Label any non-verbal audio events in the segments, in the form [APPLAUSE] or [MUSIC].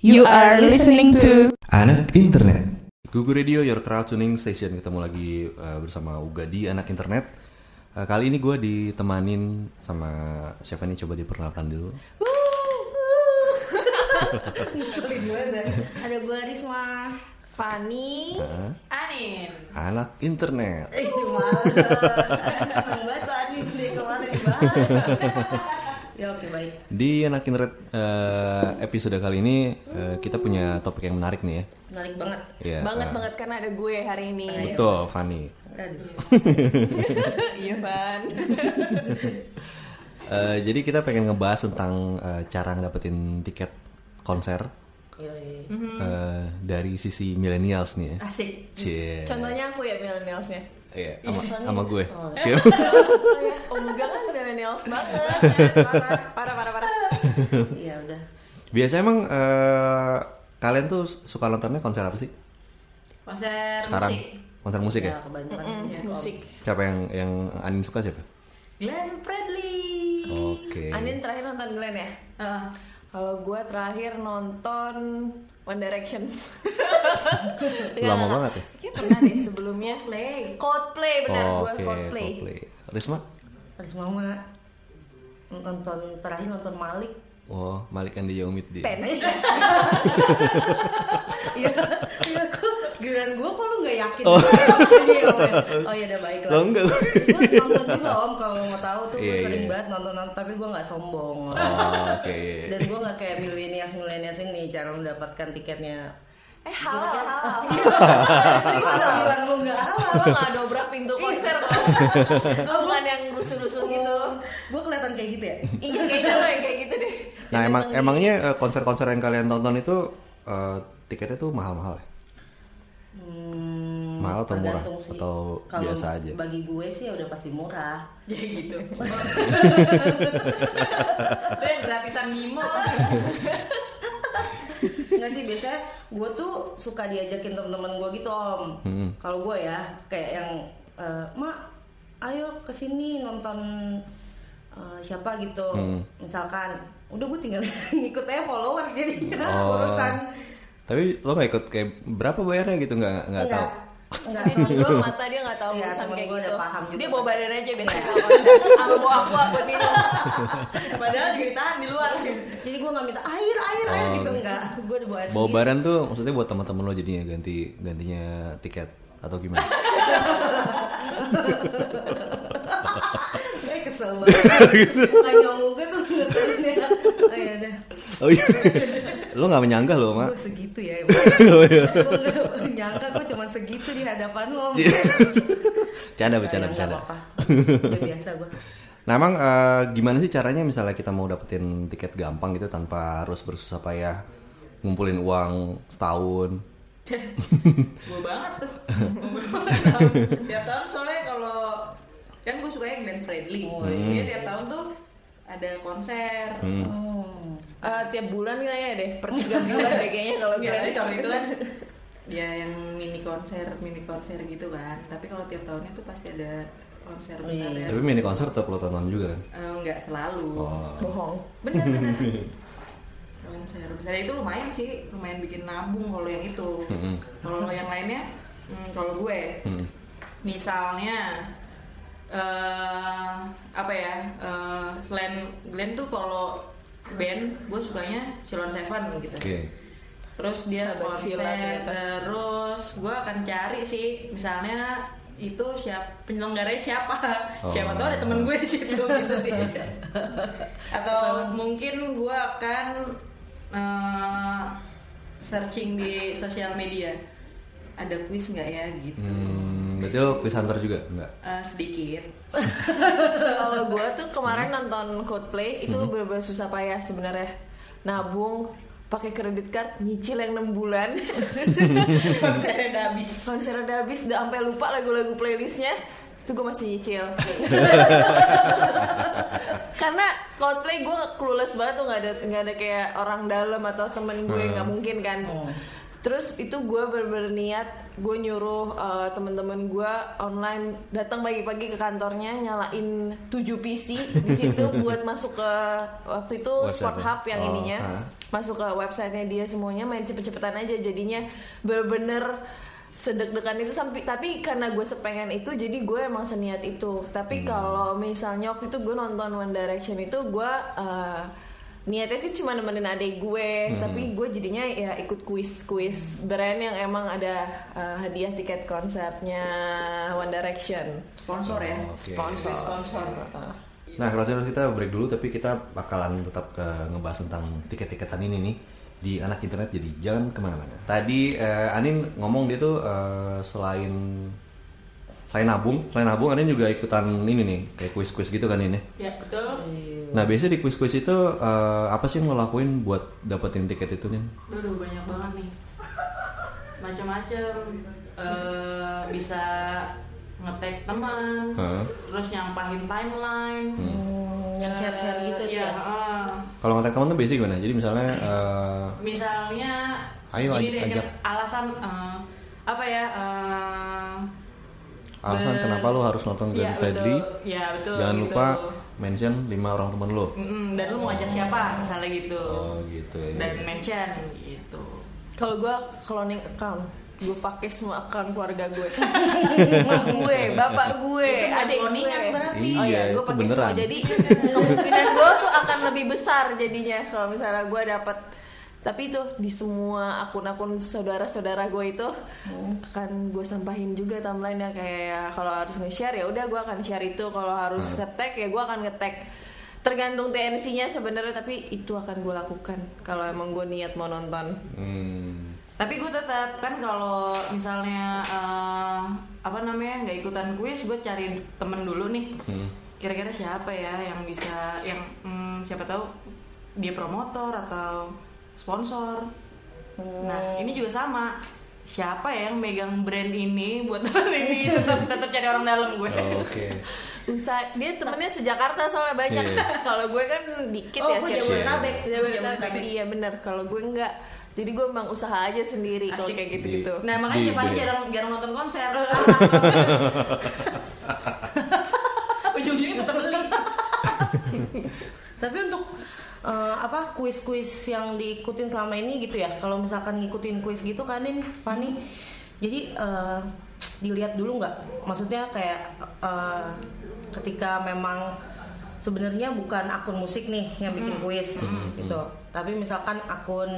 You are listening to Anak Internet. Google Radio Your Crowd Tuning Station ketemu lagi uh, bersama Uga di anak internet. Uh, kali ini gue ditemanin sama siapa nih coba diperkenalkan dulu. ya. Ada gue Risma Fani Anak internet. Eh males Seneng banget tuh Ani dari kemarin dibahas Ya oke baik Di anak internet uh, episode kali ini uh, kita punya topik yang menarik nih ya. Menarik banget Iya, banget uh, banget karena ada gue hari ini. Betul, Fanny. Kan Iya ban. Uh, jadi kita pengen ngebahas tentang uh, cara ngedapetin tiket konser Yoi. uh, dari sisi millennials nih ya. Mhm. Asik. Cie. Contohnya aku ya [LAUGHS] millennialsnya. Iya, sama- sama gue. [LAUGHS] Oh. Cie. Oh ya, Om Uga kan millennials banget. Parah parah parah. Iya udah Biasanya emang eh, kalian tuh suka nontonnya konser apa sih? konser Sekarang musik konser musik Iya. Ya ya. kebanyakan Musik. Siapa yang yang Anin suka siapa? Glenn Fredly Oke. Anin terakhir nonton Glenn ya? Kalau gue terakhir nonton One Direction. Enggak, [LAUGHS] Lama enggak. banget ya? Kayaknya pernah deh sebelumnya. Coldplay Coldplay benar gue Oke, Coldplay. Coldplay. Risma? Terus mama Nonton terakhir nonton Malik Oh, Malik and the Young Meat dia. Pensi. Iya Iya aku Giliran gue kok lu gak yakin Oh, iya, oke. oh iya udah baik lah Lo enggak? Gue nonton juga om kalau mau tahu tuh gue Iya, sering iya. banget nonton-nonton tapi gue nggak sombong Oh, Oke. dan gue nggak kayak milenials milenials ini cara mendapatkan [LAUGHS] tiketnya Eh halal halal. Lu udah bilang lu nggak halal Lo nggak dobrak pintu konser lo. Lo bukan yang rusuh-rusuh gitu. gue kelihatan kayak gitu ya Iya kayaknya lo yang kayak gitu deh. Nah, emang emangnya eh, konser-konser yang kalian tonton itu eh, tiketnya tuh mahal-mahal [LAUGHS] ya? Hmm, Mahal atau murah? tergantung sih. Atau Kalau biasa aja? bagi gue sih ya udah pasti murah ya [LAUGHS] gitu dan gratisan Mimo nggak sih biasanya gue tuh suka diajakin teman-teman gue gitu om Hmm. kalau gue ya kayak yang eh, mak ayo kesini nonton eh, siapa gitu Hmm. misalkan udah gue tinggal [LAUGHS] ngikut aja follower jadinya Oh. urusan Tapi lo nggak ikut kayak berapa bayarnya gitu nggak nggak tahu. Nah. enggak Ditunjuk mata dia nggak tahu Iya, urusan temen kayak gua udah gitu. paham juga. Dia bawa badan aja Iya. biasanya kalau konser. Sama bawa aku buat minum. [LAUGHS] padahal juga ditahan di luar jadi gue nggak minta air air air Oh. gitu enggak gue dibawa air Bawa sendiri. [LAUGHS] barang tuh maksudnya buat teman-teman lo jadinya ganti gantinya tiket atau gimana? [LAUGHS] Gue [LAUGHS] kesel banget. Gitu. Kayak gue tuh ngeselin ya. Oh iya dah. Oh iya. lo nggak menyanggah lo, Mak. Gue segitu ya. [LAUGHS] Oh, iya. Gue gak nyangka gue cuman segitu di hadapan lo. [LAUGHS] Canda, Iya. Nah, bercanda, bercanda. [LAUGHS] Gak "Ya apa-apa. Udah biasa gue. Nah emang eh, gimana sih caranya misalnya kita mau dapetin tiket gampang gitu tanpa harus bersusah payah ngumpulin uang setahun? gue banget [LAUGHS] tuh Gua banget. tiap tahun soalnya kalau kan gue sukanya Glenn Fredly Oh, iya. jadi tiap tahun tuh ada konser Hmm. Eh, tiap bulan kayaknya deh, per tiga bulan deh kayaknya kalau Iya. gue. Jadi kalau itu kan ya yang mini konser mini konser gitu kan tapi kalau tiap tahunnya tuh pasti ada konser Oh, besar ya Tapi mini konser tetap lo tonton juga kan? Eh, nggak selalu Oh. Bohong. bener bener konser besar itu lumayan sih lumayan bikin nabung kalau yang itu Mm-mm. kalau yang lainnya hmm, kalau gue Hmm. misalnya eh apa ya eh, selain Glenn tuh kalau band gue sukanya Silon Seven gitu Oke. terus dia Sahabat konser Sheila ternyata. terus gue akan cari sih misalnya Ya, itu siapa penyelenggaranya siapa Oh. siapa tahu ada temen gue di [LAUGHS] situ gitu sih atau mungkin gue akan eh, searching di sosial media ada kuis nggak ya gitu Hmm, berarti lo quiz hunter juga enggak? Eh, [LAUGHS] sedikit [LAUGHS] Kalau gue tuh kemarin nonton Coldplay itu bener-bener susah payah sebenarnya. Nabung pakai kredit card nyicil yang 6 bulan [LAUGHS] konsernya udah habis konser udah habis udah sampai lupa lagu-lagu playlistnya itu gue masih nyicil karena Coldplay gue clueless banget tuh nggak ada nggak ada kayak orang dalam atau temen gue nggak mungkin kan terus itu gue berniat gue nyuruh uh, temen-temen gue online datang pagi-pagi ke kantornya nyalain 7 PC di situ buat masuk ke waktu itu Website-nya. Sport Hub yang Oh, ininya ah. masuk ke websitenya dia semuanya main cepet-cepetan aja jadinya bener-bener sedek-dekan itu sampai tapi karena gue sepengen itu jadi gue emang seniat itu tapi Hmm. kalau misalnya waktu itu gue nonton One Direction itu gue eh, niatnya sih cuma nemenin adik Hmm. gue tapi gue jadinya ya ikut kuis kuis brand yang emang ada eh, hadiah tiket konsernya One Direction Sponsor ya. Oh, Oke. sponsor Sponsor. Heeh. Nah, kalau kita break dulu tapi kita bakalan tetap eh, ngebahas tentang tiket-tiketan ini nih di anak internet jadi jangan kemana-mana. Tadi eh, Anin ngomong dia tuh eh, selain selain nabung, selain nabung Anin juga ikutan ini nih kayak kuis-kuis gitu kan ini. Ya betul. Iya. Nah biasanya di kuis-kuis itu eh, apa sih yang lo lakuin buat dapetin tiket itu nih? Aduh banyak banget nih. Macam-macam. Eh, bisa ngetek teman, Heeh. terus nyampahin timeline. Hmm, yang share-share Eh, gitu ya. ya. heeh. Kalau kontak teman tuh biasanya gimana? Jadi misalnya eh, Misalnya, Ayo, gini ajak- deh, ajak. alasan eh, apa ya? eh, alasan ber- kenapa lo harus nonton Iya, Glenn Fredly? betul. Iya, betul, Jangan gitu. lupa mention 5 orang temen lo. Mm, dan lu mau ngajak siapa misalnya gitu Oh gitu ya. dan mention gitu Kalau gue cloning account, gue pakai semua account keluarga [LAUGHS] gue. Mak gue, bapak gue, Itu bukan adik gue. cloningan berarti. Oh Iya, iya, gue itu pakai semua. beneran. [LAUGHS] Jadi kemungkinan gue tuh akan lebih besar jadinya kalau misalnya gue dapat tapi itu di semua akun-akun saudara-saudara gue itu Hmm. akan gue sampahin juga timeline ya kayak kalau harus nge-share ya udah gue akan share itu kalau harus Hmm. nge-tag ya gue akan nge-tag tergantung TNC-nya sebenarnya tapi itu akan gue lakukan kalau emang gue niat mau nonton Hmm. tapi gue tetap kan kalau misalnya eh, apa namanya nggak ikutan kuis gue cari temen dulu nih kira-kira siapa ya yang bisa yang mm, siapa tahu dia promotor atau sponsor nah ini juga sama siapa ya yang megang brand ini buat [LAUGHS] tahun ini tetap tetap cari orang dalam gue Oke. [LAUGHS] Usaha dia temennya sejakarta soalnya banyak. Iya. [LAUGHS] Kalau gue kan dikit Oh, ya gue sih. Jabodetabek. Jabodetabek. Jabodetabek. Iya benar. Kalau gue enggak. Jadi gue emang usaha aja sendiri kalau Asik. kayak gitu-gitu. nah makanya Di- Fanny di- jarang jarang nonton konser ujung-ujungnya tetap beli Iya. [LAUGHS] Tapi untuk eh, apa kuis-kuis yang diikutin selama ini gitu ya. Kalau misalkan ngikutin kuis gitu kanin Fani. Jadi eh, dilihat dulu nggak? Maksudnya kayak eh, ketika memang sebenarnya bukan akun musik nih yang bikin kuis gitu. Tapi misalkan akun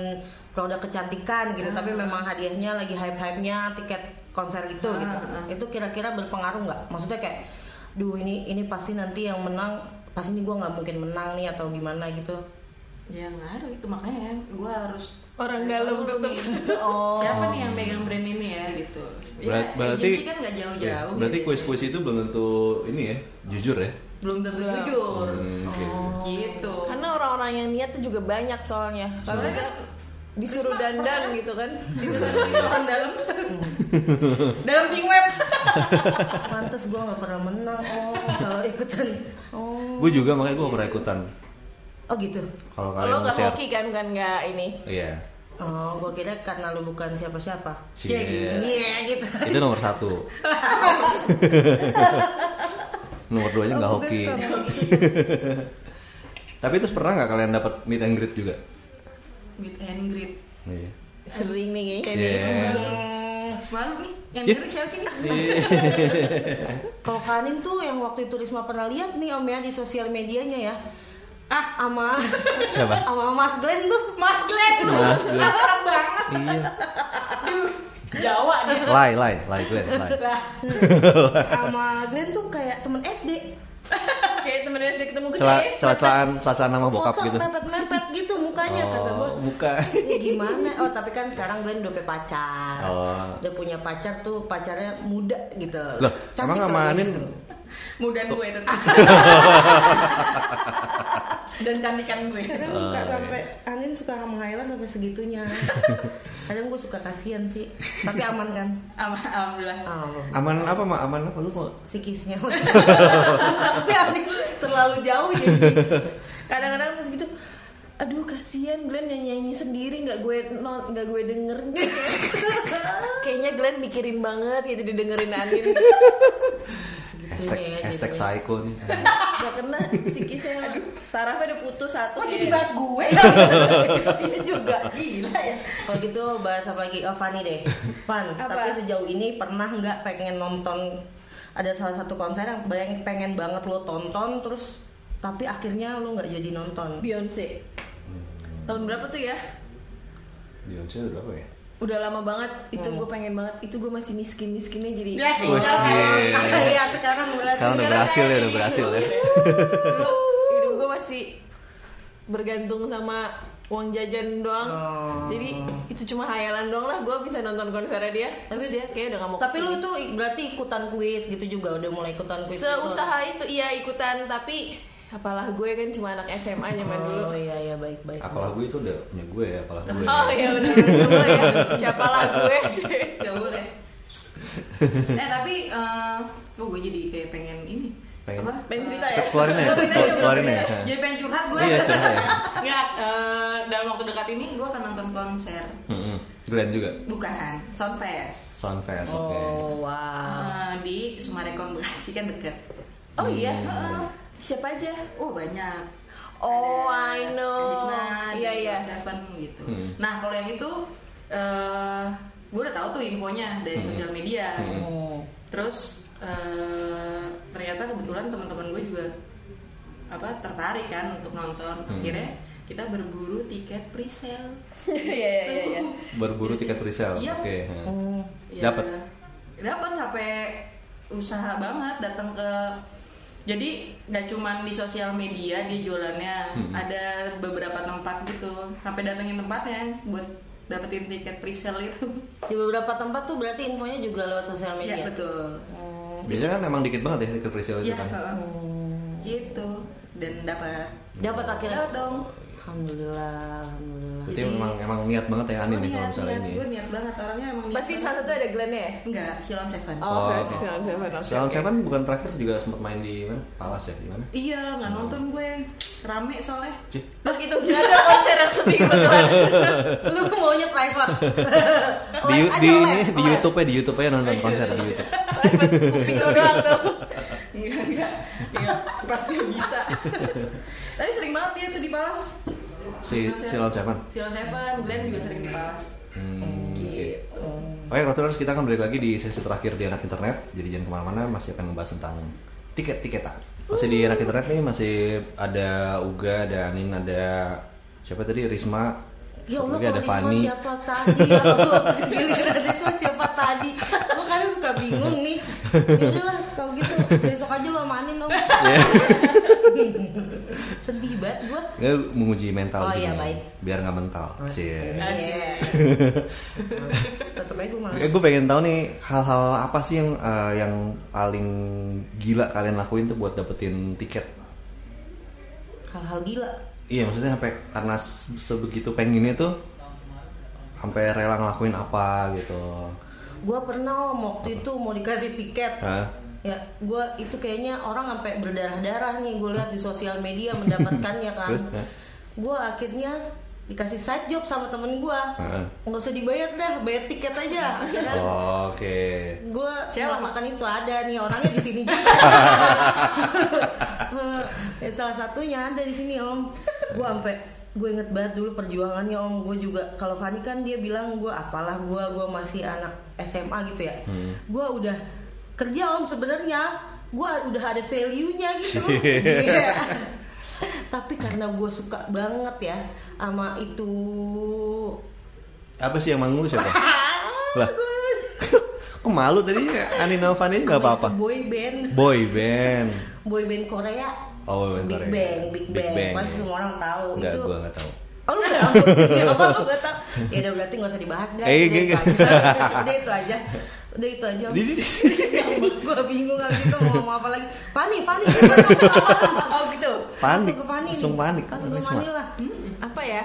produk kecantikan gitu, tapi memang hadiahnya lagi hype-hype-nya tiket konser itu gitu. Itu kira-kira berpengaruh nggak? Maksudnya kayak duh ini ini pasti nanti yang menang pasti ini gue nggak mungkin menang nih atau gimana gitu [LAUGHS] ya ngaruh itu makanya gue harus Orang dalam Dulu nih, gitu. Oh. siapa nih yang megang brand ini ya gitu Berat- ya, berarti agency kan nggak jauh-jauh iya, gitu berarti ya. kuis-kuis itu belum tentu ini ya, jujur ya. belum tentu jujur Hmm, oke. gitu Karena orang-orang yang niat tuh juga banyak soalnya. Kalau misalnya disuruh dandan gitu kan. Itu Iya. orang dalam dalam ting [LAUGHS] web pantas gue nggak pernah menang oh kalau ikutan oh Gue juga makanya gue pernah ikutan. oh gitu Kalau Kalau kalian nggak share. hoki kan kan nggak [LAUGHS] ini. Iya. oh gue kira karena lu bukan siapa-siapa Cie. iya gitu Itu nomor satu. nomor duanya nggak hoki. [LAUGHS] Tapi terus pernah nggak kalian dapat meet and greet juga? meet and greet Iya. Sering nih kayaknya. nih. Iya. Hmm. malu nih yang Iya. diri siapa sih nih? kalau kanin tuh yang waktu itu Risma pernah lihat nih om ya di sosial medianya ya ah ama [LAUGHS] Siapa? ama Mas Glenn tuh mas Glenn Mas [LAUGHS] Glenn. akrab banget Iya. Aduh, Jawa [LAUGHS] dia Lai, lai, lai Glenn, lai. ama Glenn tuh kayak temen SD Kayak temennya sering ketemu gede. Celah, celah-celahan, celah-celahan nama bokap foto gitu. mepet-mepet gitu mukanya kata gue Oh, muka. Ya gimana? Oh tapi kan sekarang Glenn udah punya pacar. Oh. Udah punya pacar tuh pacarnya muda gitu. Loh, Cantik emang gitu. sama orangnya. Anin mudan gue [LAUGHS] tetap dan cantikan gue Kadang Kan suka Ah, sampai iya. Anin suka sama Hailan sampai segitunya. [LAUGHS] Kadang gue suka kasihan sih. Tapi aman kan? Al- alhamdulillah Oh. aman apa mak aman apa lu kok Psikisnya [LAUGHS] Tapi Anin terlalu jauh [LAUGHS] jadi kadang-kadang pas gitu aduh kasihan Glenn yang nyanyi sendiri nggak gue no- nggak gue [LAUGHS] denger kayaknya Glenn mikirin banget gitu didengerin Anin Hashtag, Iya, gitu. hashtag psycho nih. Gak kena psikisnya emang. sarafnya udah putus satu Kok jadi kayaknya. bahas [LAUGHS] gue? Ini juga gila ya. Kalau gitu bahas apa lagi? Oh Fanny deh. Fan, [LAUGHS] Apa? tapi sejauh ini pernah nggak pengen nonton ada salah satu konser yang bayang pengen banget lo tonton terus tapi akhirnya lo nggak jadi nonton. Beyonce tahun berapa tuh ya Beyonce udah berapa ya? udah lama banget itu gue pengen banget itu gue masih miskin miskinnya jadi Ya sih. Oh, shit. [LAUGHS] Iya, sekarang mulai Sekarang udah berhasil ya, udah berhasil ya. dulu hidup gue masih bergantung sama uang jajan doang jadi itu cuma hayalan doang lah gue bisa nonton konsernya dia tapi dia kayak udah gak mau Tapi kesini. lu tuh i- berarti ikutan kuis gitu juga udah mulai ikutan kuis. gitu. seusaha itu iya ikutan tapi apalah gue kan cuma anak SMA nyaman dulu Oh iya iya baik baik. Apalah gue itu udah punya gue ya, apalah gue. oh iya benar benar ya siapalah gue [LAUGHS] Gak [LAUGHS] boleh. Eh tapi, eh oh, gue jadi kayak pengen ini. Pengen. Apa? pengen cerita ya Cepet keluarin ya, keluarin ya. Jadi pengen curhat gue. Iya, curhat ya. [LAUGHS] Nggak, eh, dalam waktu dekat ini gue akan nonton konser. Heeh. Glenn juga. Bukan, Soundfest. Soundfest, oke. Oh wow. Eh, di Sumarekon Bekasi kan deket. oh iya Heeh. siapa aja Oh banyak. Oh, Ada I know. Adikman, Iya, iya. Seven gitu. Hmm. Nah kalau yang itu, eh gue udah tahu tuh infonya dari sosial media. Terus eh ternyata kebetulan teman-teman gue juga apa tertarik kan untuk nonton. Akhirnya kita berburu tiket presale. [LAUGHS] iya iya iya iya Berburu tiket presale. Iya. Oke. heeh. [LAUGHS] Ya, Dapat. Dapat sampai usaha banget datang ke jadi nggak cuman di sosial media dia jualannya ada beberapa tempat gitu sampai datengin tempatnya buat dapetin tiket presale itu Di beberapa tempat tuh berarti infonya juga lewat Oh, sosial media. iya. ya betul Biasanya kan memang dikit banget ya tiket presale itu ya kan. heeh. gitu dan dapat Dapat akhirnya. Dapat dong Alhamdulillah, alhamdulillah. Berarti memang emang niat banget ya Anin nih kalau misalnya ini. gue Oh, niat banget orangnya emang niat pasti banget. salah satu ada Glenn ya enggak Silon Seven Oh, Oh, Sound Seven, oke, oke. Sound Seven bukan terakhir juga sempat main di mana? Palace ya di mana? iya nggak nonton gue rame soalnya [LAUGHS] Cih, Loh gitu, gak ada konser yang sepi [LAUGHS] kebetulan Lu maunya private. di, Les, di ayo ini les, di les. YouTube ya di YouTube aja nonton konser di YouTube. Kuping lu doang tuh Enggak, enggak. Iya, pas dia [LAUGHS] bisa. Tapi sering banget dia tuh di Palas. Si Cilal Jaman. Silon Seven, Glenn juga sering di Palas. Gitu. Hmm, oke. Oke, Rotterdam kita akan balik lagi di sesi terakhir di anak internet. Jadi jangan kemana-mana, masih akan membahas tentang tiket-tiketan. Masih di anak internet nih, masih ada Uga, ada Anin, ada siapa tadi Risma, Ya satu lagi Allah, kalau ada Risma Fani. siapa tadi? Aku giliran Risma siapa tadi? Gue kan suka bingung nih. Yaudah lah, kalau gitu besok aja lo amanin dong. Iya. [LAUGHS] Sedih banget gue. Nggak, menguji mental Oh, di iya, sini. baik. Oh, biar nggak mental. Cie. Iya. Tetep aja gue malas. Eh, gue pengen tahu nih hal-hal apa sih yang eh, yang paling gila kalian lakuin tuh buat dapetin tiket? Hal-hal gila. Iya maksudnya sampai karena se- sebegitu pengennya tuh sampai rela ngelakuin apa gitu. Gue pernah om waktu itu mau dikasih tiket. Hah? Ya, gue itu kayaknya orang sampai berdarah-darah nih gue lihat di sosial media mendapatkannya kan. [LAUGHS] Terus, ya? Gue akhirnya dikasih side job sama temen gue. Heeh. Oh, Nggak usah dibayar dah, bayar tiket aja. Akhirnya Oke. gue Siapa, melakukan itu ada nih orangnya di sini juga. Eh, salah satunya ada di sini om. Gue sampai gue inget banget dulu perjuangannya om gue juga kalau Fani kan dia bilang gue apalah gue gue masih anak SMA gitu ya Hmm. gue udah kerja om sebenarnya gue udah ada value nya gitu [LAUGHS] Iya. tapi karena gue suka banget ya sama itu Apa sih yang manggung siapa? [LAUGHS] lah, Gue- kok malu tadi Ani Novani ini nggak sama apa-apa. itu boy band Boy band. boy band Korea Oh, boy band Big Korea. Bang Big, Big Bang, Bang, pasti ya. semua orang tahu Enggak, itu gue nggak tahu. Oh lu [LAUGHS] udah ya apa lu gak tau Ya udah berarti gak usah dibahas guys Eh, Udah itu gini. aja Udah itu aja Udah itu aja Di- [LAUGHS] di- di. Gue bingung abis itu mau ngomong apa lagi Fani, Fani gimana? Apa? [LAUGHS] Oh gitu Panik. Langsung ke Fani nih. Langsung panik. Langsung ke Risma. Fani lah Hmm. Apa ya?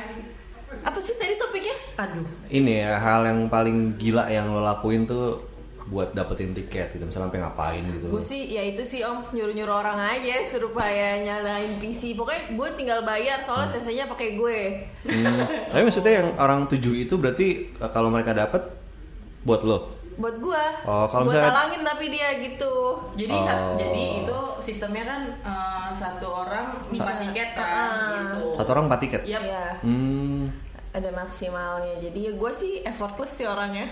Apa sih tadi topiknya? Aduh Ini ya hal yang paling gila yang lo lakuin tuh buat dapetin tiket gitu. Misalnya sampai ngapain gitu. Gue sih, ya itu sih om Nyuruh-nyuruh orang aja Supaya nyalain PC Pokoknya gue tinggal bayar Soalnya sensenya pakai gue Hmm. Tapi maksudnya yang orang tujuh itu berarti eh, kalau mereka dapet buat lo. buat gua Oh, kalau buat misalnya- talangin tapi dia gitu Jadi Oh. jadi itu sistemnya kan eh, satu orang bisa tiket kan Ah. gitu. Satu orang empat tiket. Yap. Iya, Hmm. ada maksimalnya jadi ya gua sih effortless sih orangnya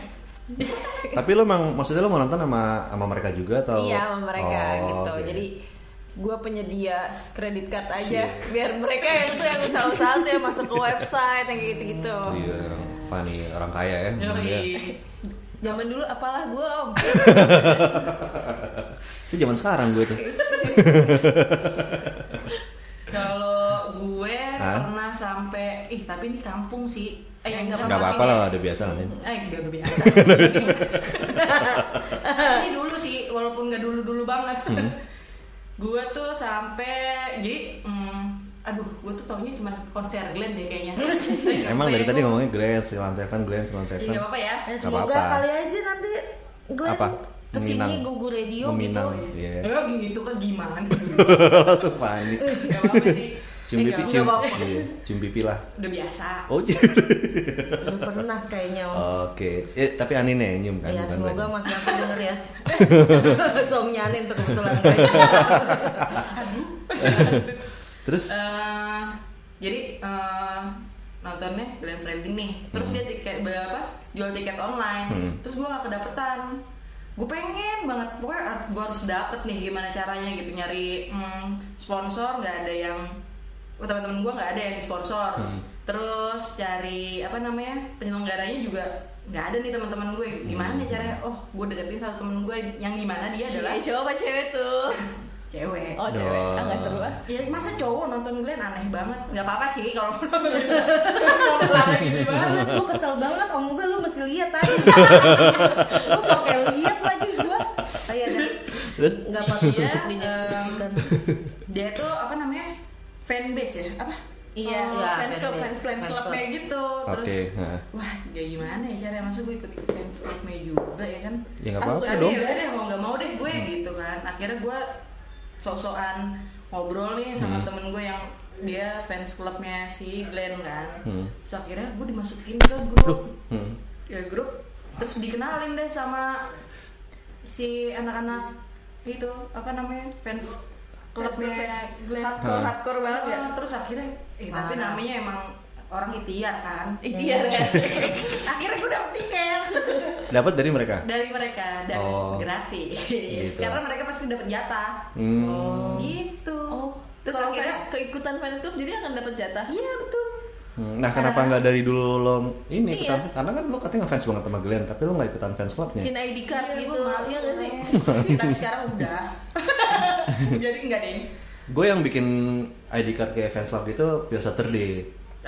Tapi lo emang maksudnya lo mau nonton sama sama mereka juga atau? iya sama mereka Oh, gitu oke. jadi gua penyedia kredit card aja Iya. [LAUGHS] biar mereka yang tuh yang usaha-usaha tuh yang masuk ke website yang kayak gitu-gitu Iya, Fanny orang kaya ya. Iya. Yoi. zaman dulu apalah gua om Itu zaman sekarang gue tuh. Kalau gue Hah? pernah sampai ih tapi ini kampung sih. Eh enggak, Enggak apa-apa lah, udah biasa nanti. Eh udah udah [LAUGHS] biasa. Ini dulu sih walaupun nggak dulu-dulu banget. Hmm. [LAUGHS] gue tuh sampai jadi mm, aduh gue tuh taunya cuma konser Glenn deh [LAUGHS] kayaknya. Tapi Emang dari tadi sampai ya, gua- ngomongnya Glenn, Silan Seven, Glenn, Silan Seven. Iya, nggak apa-apa ya. Ya, Nggak semoga apa-apa. kali aja nanti Glenn Apa? kesini Meminang. gugur radio Meminang, gitu. iya. [LAUGHS] Eh gitu kan gimana? Langsung panik. Gak apa-apa sih. Cium Eh, pipi, nggak cium, apa-apa. iya, cium pipi lah. Udah biasa. Oh, cium. Udah pernah kayaknya. Om. Oke, eh, tapi Anin ya yang nyium kan? ya, bukan semoga Glenn. Mas Gafin denger [LAUGHS] ya. Som nyanin tuh kebetulan. Iya. Terus, eh jadi eh, nontonnya Glenn Fredly nih terus dia tiket berapa jual tiket online Hmm. terus gue gak kedapetan gue pengen banget pokoknya gue harus dapet nih gimana caranya gitu nyari mm, sponsor nggak ada yang oh, teman-teman gue nggak ada yang sponsor terus cari apa namanya penyelenggaranya juga nggak ada nih teman-teman gue gimana caranya oh gue deketin satu temen gue yang gimana dia adalah [LAUGHS] Iya, cowok apa cewek tuh cewek oh cewek ah nggak seru ah Ya masa cowok nonton Glenn aneh banget. Gak apa-apa sih kalau mau nonton Glenn. Mau kesana gini banget. Gue kesel banget om gue lu mesti lihat [LAUGHS] tadi. Lu pakai lihat lagi gue. Ayo deh. terus, iya. Nggak patut Iya, untuk dijustifikasikan. Dia tuh apa namanya? Fanbase ya? Apa? Iya, Oh, iya, fans club, fanbase. fans club, fans Fans club club. kayak gitu. Terus oke. nah. Wah, ya gimana ya cara masa gue ikut ikut fans clubnya juga ya kan? Ya, nggak apa-apa Tapi dong. Hmm. ya udah deh mau nggak mau deh gue gitu kan. Akhirnya gue sosokan ngobrol nih sama Hmm. temen gue yang dia fans clubnya si Glenn kan. Hmm. Terus akhirnya gue dimasukin ke grup. Hmm. ya grup terus dikenalin deh sama si anak-anak itu apa namanya fans klubnya Glenn hardcore hardcore banget ya Ah, terus akhirnya eh, tapi Parah. namanya emang orang ikhtiar kan Ikhtiar, Ya. ya. [LAUGHS] akhirnya gue dapet tiket Dapat dari mereka. dari mereka dan Oh. gratis Gitu. karena mereka pasti dapet jatah Hmm. gitu oh terus kalau akhirnya fans keikutan fans club jadi akan dapat jatah iya betul Hmm, Nah kenapa nggak dari dulu lo ini Iya. ikutan? Karena kan lo katanya ngefans banget sama Glenn, tapi lo nggak ikutan fans clubnya. bikin ID card Iya, gitu gua malu iya nggak sih namanya. [LAUGHS] tapi sekarang udah jadi enggak deh Gue yang bikin ID card kayak fans club gitu, itu Pure Saturday.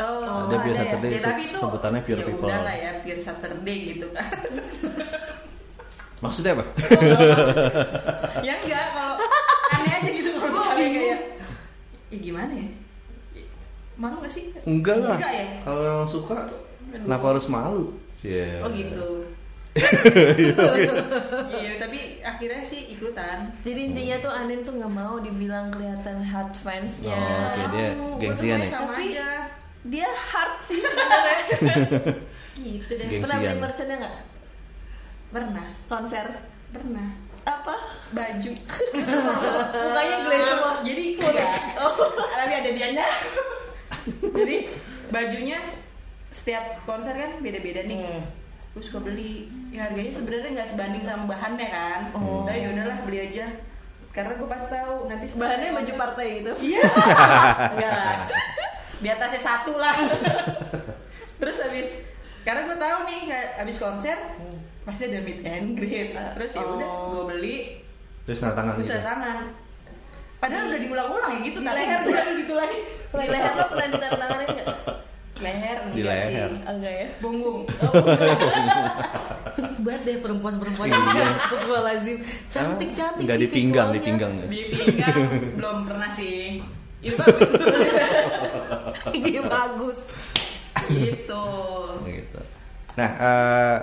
Oh, Ada Pure ya? Saturday, ya, tapi se- itu sebutannya Pure ya People. udah lah ya, Pure Saturday gitu [LAUGHS] kan. Maksudnya apa? ya enggak, kalau aneh aja gitu kalau misalnya kayak, ya gimana ya? Malu gak sih? Enggak lah. Enggak ya? Kalau emang suka, kenapa harus malu? Iya. Oh [LAUGHS] gitu. Iya, tapi akhirnya sih ikutan. jadi intinya tuh Anin tuh nggak mau dibilang kelihatan hard fansnya Oh, oke. dia Malu, gua gengsian tuh ya? Ya, Sama Tapi- aja. dia hard sih [LAUGHS] sebenarnya Gitu deh. Geng- pernah Gengsian. beli merchandise nggak Pernah, konser pernah. apa Ah. Baju. Oh, mukanya Glenn semua Jadi ya? enggak. Tapi ada dianya. Jadi bajunya setiap konser kan beda-beda nih. Hmm. Gue suka beli. Ya harganya sebenarnya nggak sebanding sama bahannya kan. Oh. Nah, ya udahlah beli aja. Karena gue pas tahu nanti bahannya baju partai gitu Iya. Enggak lah. Di atasnya satu lah. Terus habis karena gue tahu nih kayak habis konser pasti ada meet and greet. Terus ya udah Oh. gue beli Terus tanda tangan terus gitu. ada tangan. Padahal udah diulang-ulang ya gitu Di kan. leher gitu lagi gitu lagi. di leher lo pernah ditandatanganin nggak Leher Di enggak sih. leher. enggak ya Punggung. Oh, Seru banget deh perempuan-perempuan ini. Astagfirullahaladzim. Cantik-cantik Iya. Ah, Nggak sih di pinggang, di visualnya. pinggang. Di pinggang belum pernah sih. Itu bagus Ide bagus. gitu. Gitu. Nah, eh,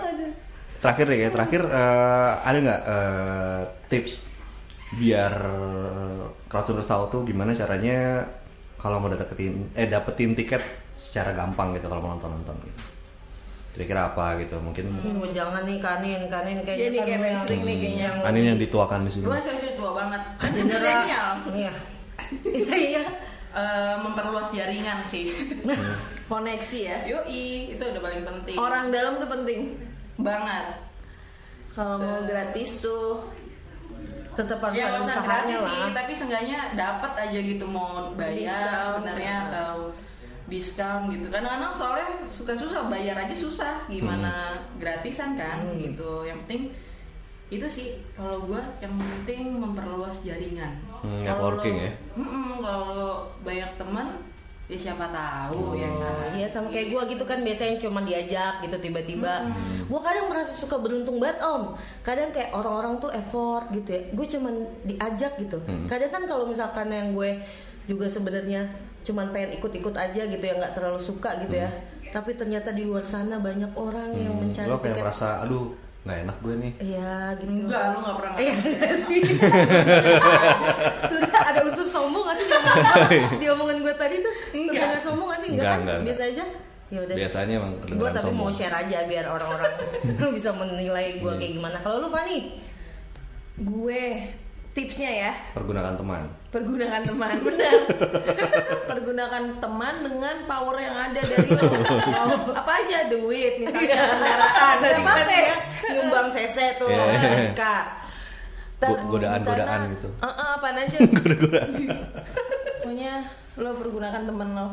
terakhir deh ya, terakhir eh, ada nggak eh, tips biar crowdfunder tahu tuh gimana caranya kalau mau dapetin eh dapetin tiket secara gampang gitu kalau mau nonton nonton gitu. kira-kira apa gitu mungkin Oh, jangan nih kanin, kanin kayaknya Jadi kayak kan lu yang- mainstream nih kayaknya. yang Anin Kan yang dituakan di sini Gue cowok tua banget. Kan Genera- milenial. Iya. Iya, iya. Eh, memperluas jaringan sih. koneksi ya Yoi, itu udah paling penting. orang dalam tuh penting banget. kalau mau gratis tuh Tetap harus Ya ada nggak usah usahanya gratis sih, lah. tapi seenggaknya dapat aja gitu mau Diskon. bayar sebenarnya atau diskon gitu. Kadang-kadang soalnya suka susah bayar aja susah, gimana gratisan kan gitu. Yang penting itu sih kalau gua yang penting memperluas jaringan. Hmm, networking ya? Mm-mm, kalau banyak teman ya siapa tahu ya kan. Iya sama kayak gue gitu kan biasanya cuma diajak gitu tiba-tiba. Gue kadang merasa suka beruntung banget om. Kadang kayak orang-orang tuh effort gitu ya. Gue cuman diajak gitu. Kadang kan kalau misalkan yang gue juga sebenarnya cuman pengen ikut-ikut aja gitu ya nggak terlalu suka gitu ya. Tapi ternyata di luar sana banyak orang yang Hmm, mencari lo kayak tiket. merasa aduh nggak enak gue nih Iya gitu. Enggak, lu nggak pernah Iya nggak sih. Sudah ada unsur sombong gak sih dia [LAUGHS] diomongin gue tadi tuh? Enggak. sombong gak sih? Enggak, Enggak, enggak, kan? enggak. Biasa aja. Ya udah. biasanya emang Gue kedengeran tapi mau sombong Iya. share aja biar [LAUGHS] orang-orang [LAUGHS] bisa menilai gue kayak gimana. Kalau lu Fani, gue tipsnya ya pergunakan teman pergunakan teman [LAUGHS] benar pergunakan teman dengan power yang ada dari [LAUGHS] lo Mau apa aja duit misalnya kendaraan tadi apa kan ya nyumbang sese tuh Iya, iya, iya. Kak. Go- godaan- godaan gitu. uh, apa [LAUGHS] aja pokoknya lo pergunakan teman lo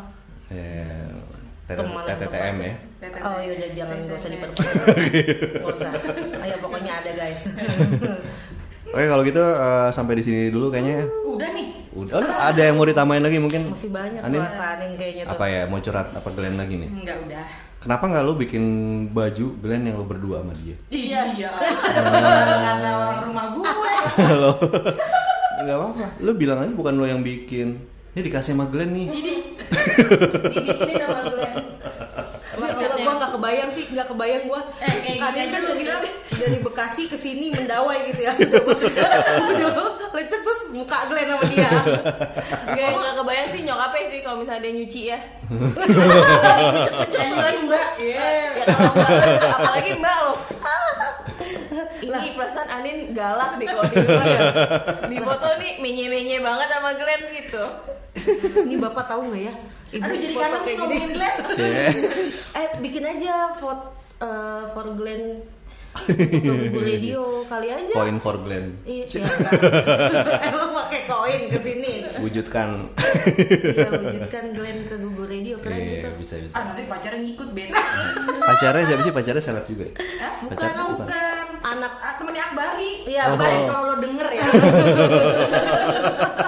eh, Teman yang TTTM ya Oh yaudah jangan gak usah [LAUGHS] diperpanjang. Gak usah. Ayo pokoknya ada guys. oke kalau gitu eh, sampai di sini dulu kayaknya ya. Udah nih. udah oh, ada yang mau ditambahin lagi mungkin Masih banyak Gitu. Anin? tuh Anin kayaknya tuh. apa ya mau curhat apa Glenn lagi nih Enggak udah. kenapa nggak lo bikin baju Glenn yang lo berdua sama [LAUGHS] dia Iya, iya. [LAUGHS] Karena orang rumah gue. lo nggak apa-apa lo bilang aja bukan lo yang bikin ini dikasih sama Glenn nih Ini ini [LAUGHS] ini nama gue Iya, Wah, coba gue gak kebayang sih, gak kebayang gue Eh, kayak gini Kadin aja kan lu dari, bilang. dari Bekasi ke sini mendawai gitu ya Udah, lecet terus muka Glenn sama [LAUGHS] dia Gak, gak kebayang sih nyokapnya sih kalau misalnya dia nyuci ya Jangan mbak Iya Ya kalau mbak, apalagi mbak [LAUGHS] lo Ini perasaan Anin galak deh kalau di rumah ya Di foto nih menye-menye banget sama Glenn gitu Ini bapak tahu gak ya? Ibu Aduh jadi foto kangen nih ngomongin Glenn Eh, bikin aja vote eh, for Glenn Untuk Ibu Radio kali aja koin for Glenn Iya, iya. [LAUGHS] Emang pakai koin ke sini. wujudkan Iya, wujudkan Glenn ke Google Radio keren Iya, sih tuh. bisa bisa Ah nanti pacarnya ngikut bete pacarnya siapa sih pacarnya seleb juga ya? Bukan, Pacarnya bukan. bukan. Anak ah, Temennya Akbari Iya, Akbari Oh. kalau lo denger ya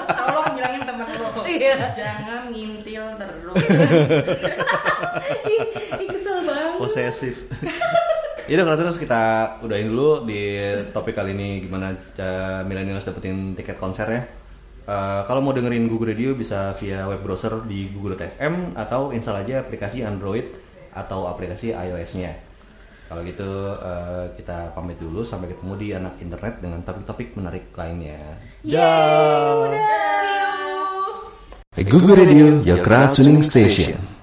Tolong bilangin temen lo Iya. Jangan ngintil terus ih, ih, kesel banget. [LAUGHS] posesif ya udah kalau terus kita udahin dulu di topik kali ini gimana eh, millennials dapetin tiket konsernya Eh, kalau mau dengerin Google Radio bisa via web browser di google.fm atau install aja aplikasi Android atau aplikasi iOS-nya. Kalau gitu eh, kita pamit dulu sampai ketemu di anak internet dengan topik-topik menarik lainnya. Dah. Google Radio, your crowd tuning station.